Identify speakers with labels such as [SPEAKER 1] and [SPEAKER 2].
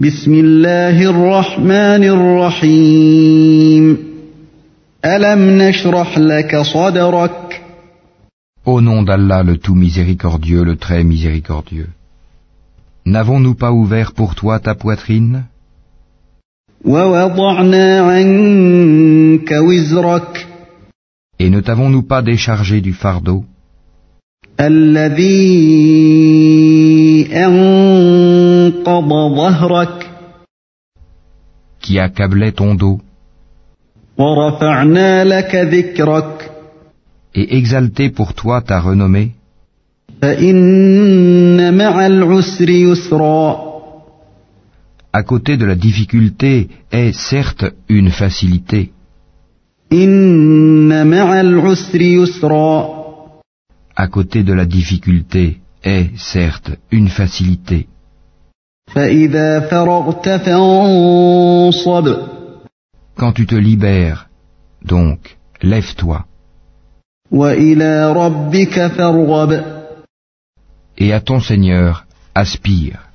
[SPEAKER 1] بسم الله الرحمن الرحيم ألم نشرح لك صدرك
[SPEAKER 2] Au nom d'Allah le tout miséricordieux, le très miséricordieux. N'avons-nous pas ouvert pour toi ta poitrine
[SPEAKER 1] ووضعنا عنك وزرك
[SPEAKER 2] Et ne t'avons-nous pas déchargé du fardeau
[SPEAKER 1] الذي أنقض ظهرك
[SPEAKER 2] qui accablait ton dos
[SPEAKER 1] ورفعنا لك ذكرك
[SPEAKER 2] et exalté pour toi ta renommée
[SPEAKER 1] فإن مع العسر يسرا
[SPEAKER 2] À côté de la difficulté est certes une facilité.
[SPEAKER 1] إن مع العسر يسرا
[SPEAKER 2] À côté de la difficulté est certes une facilité.
[SPEAKER 1] فإذا فرغت فانصب
[SPEAKER 2] Quand tu te libères, donc, lève-toi
[SPEAKER 1] وإلى ربك فارغب
[SPEAKER 2] et à ton Seigneur aspire.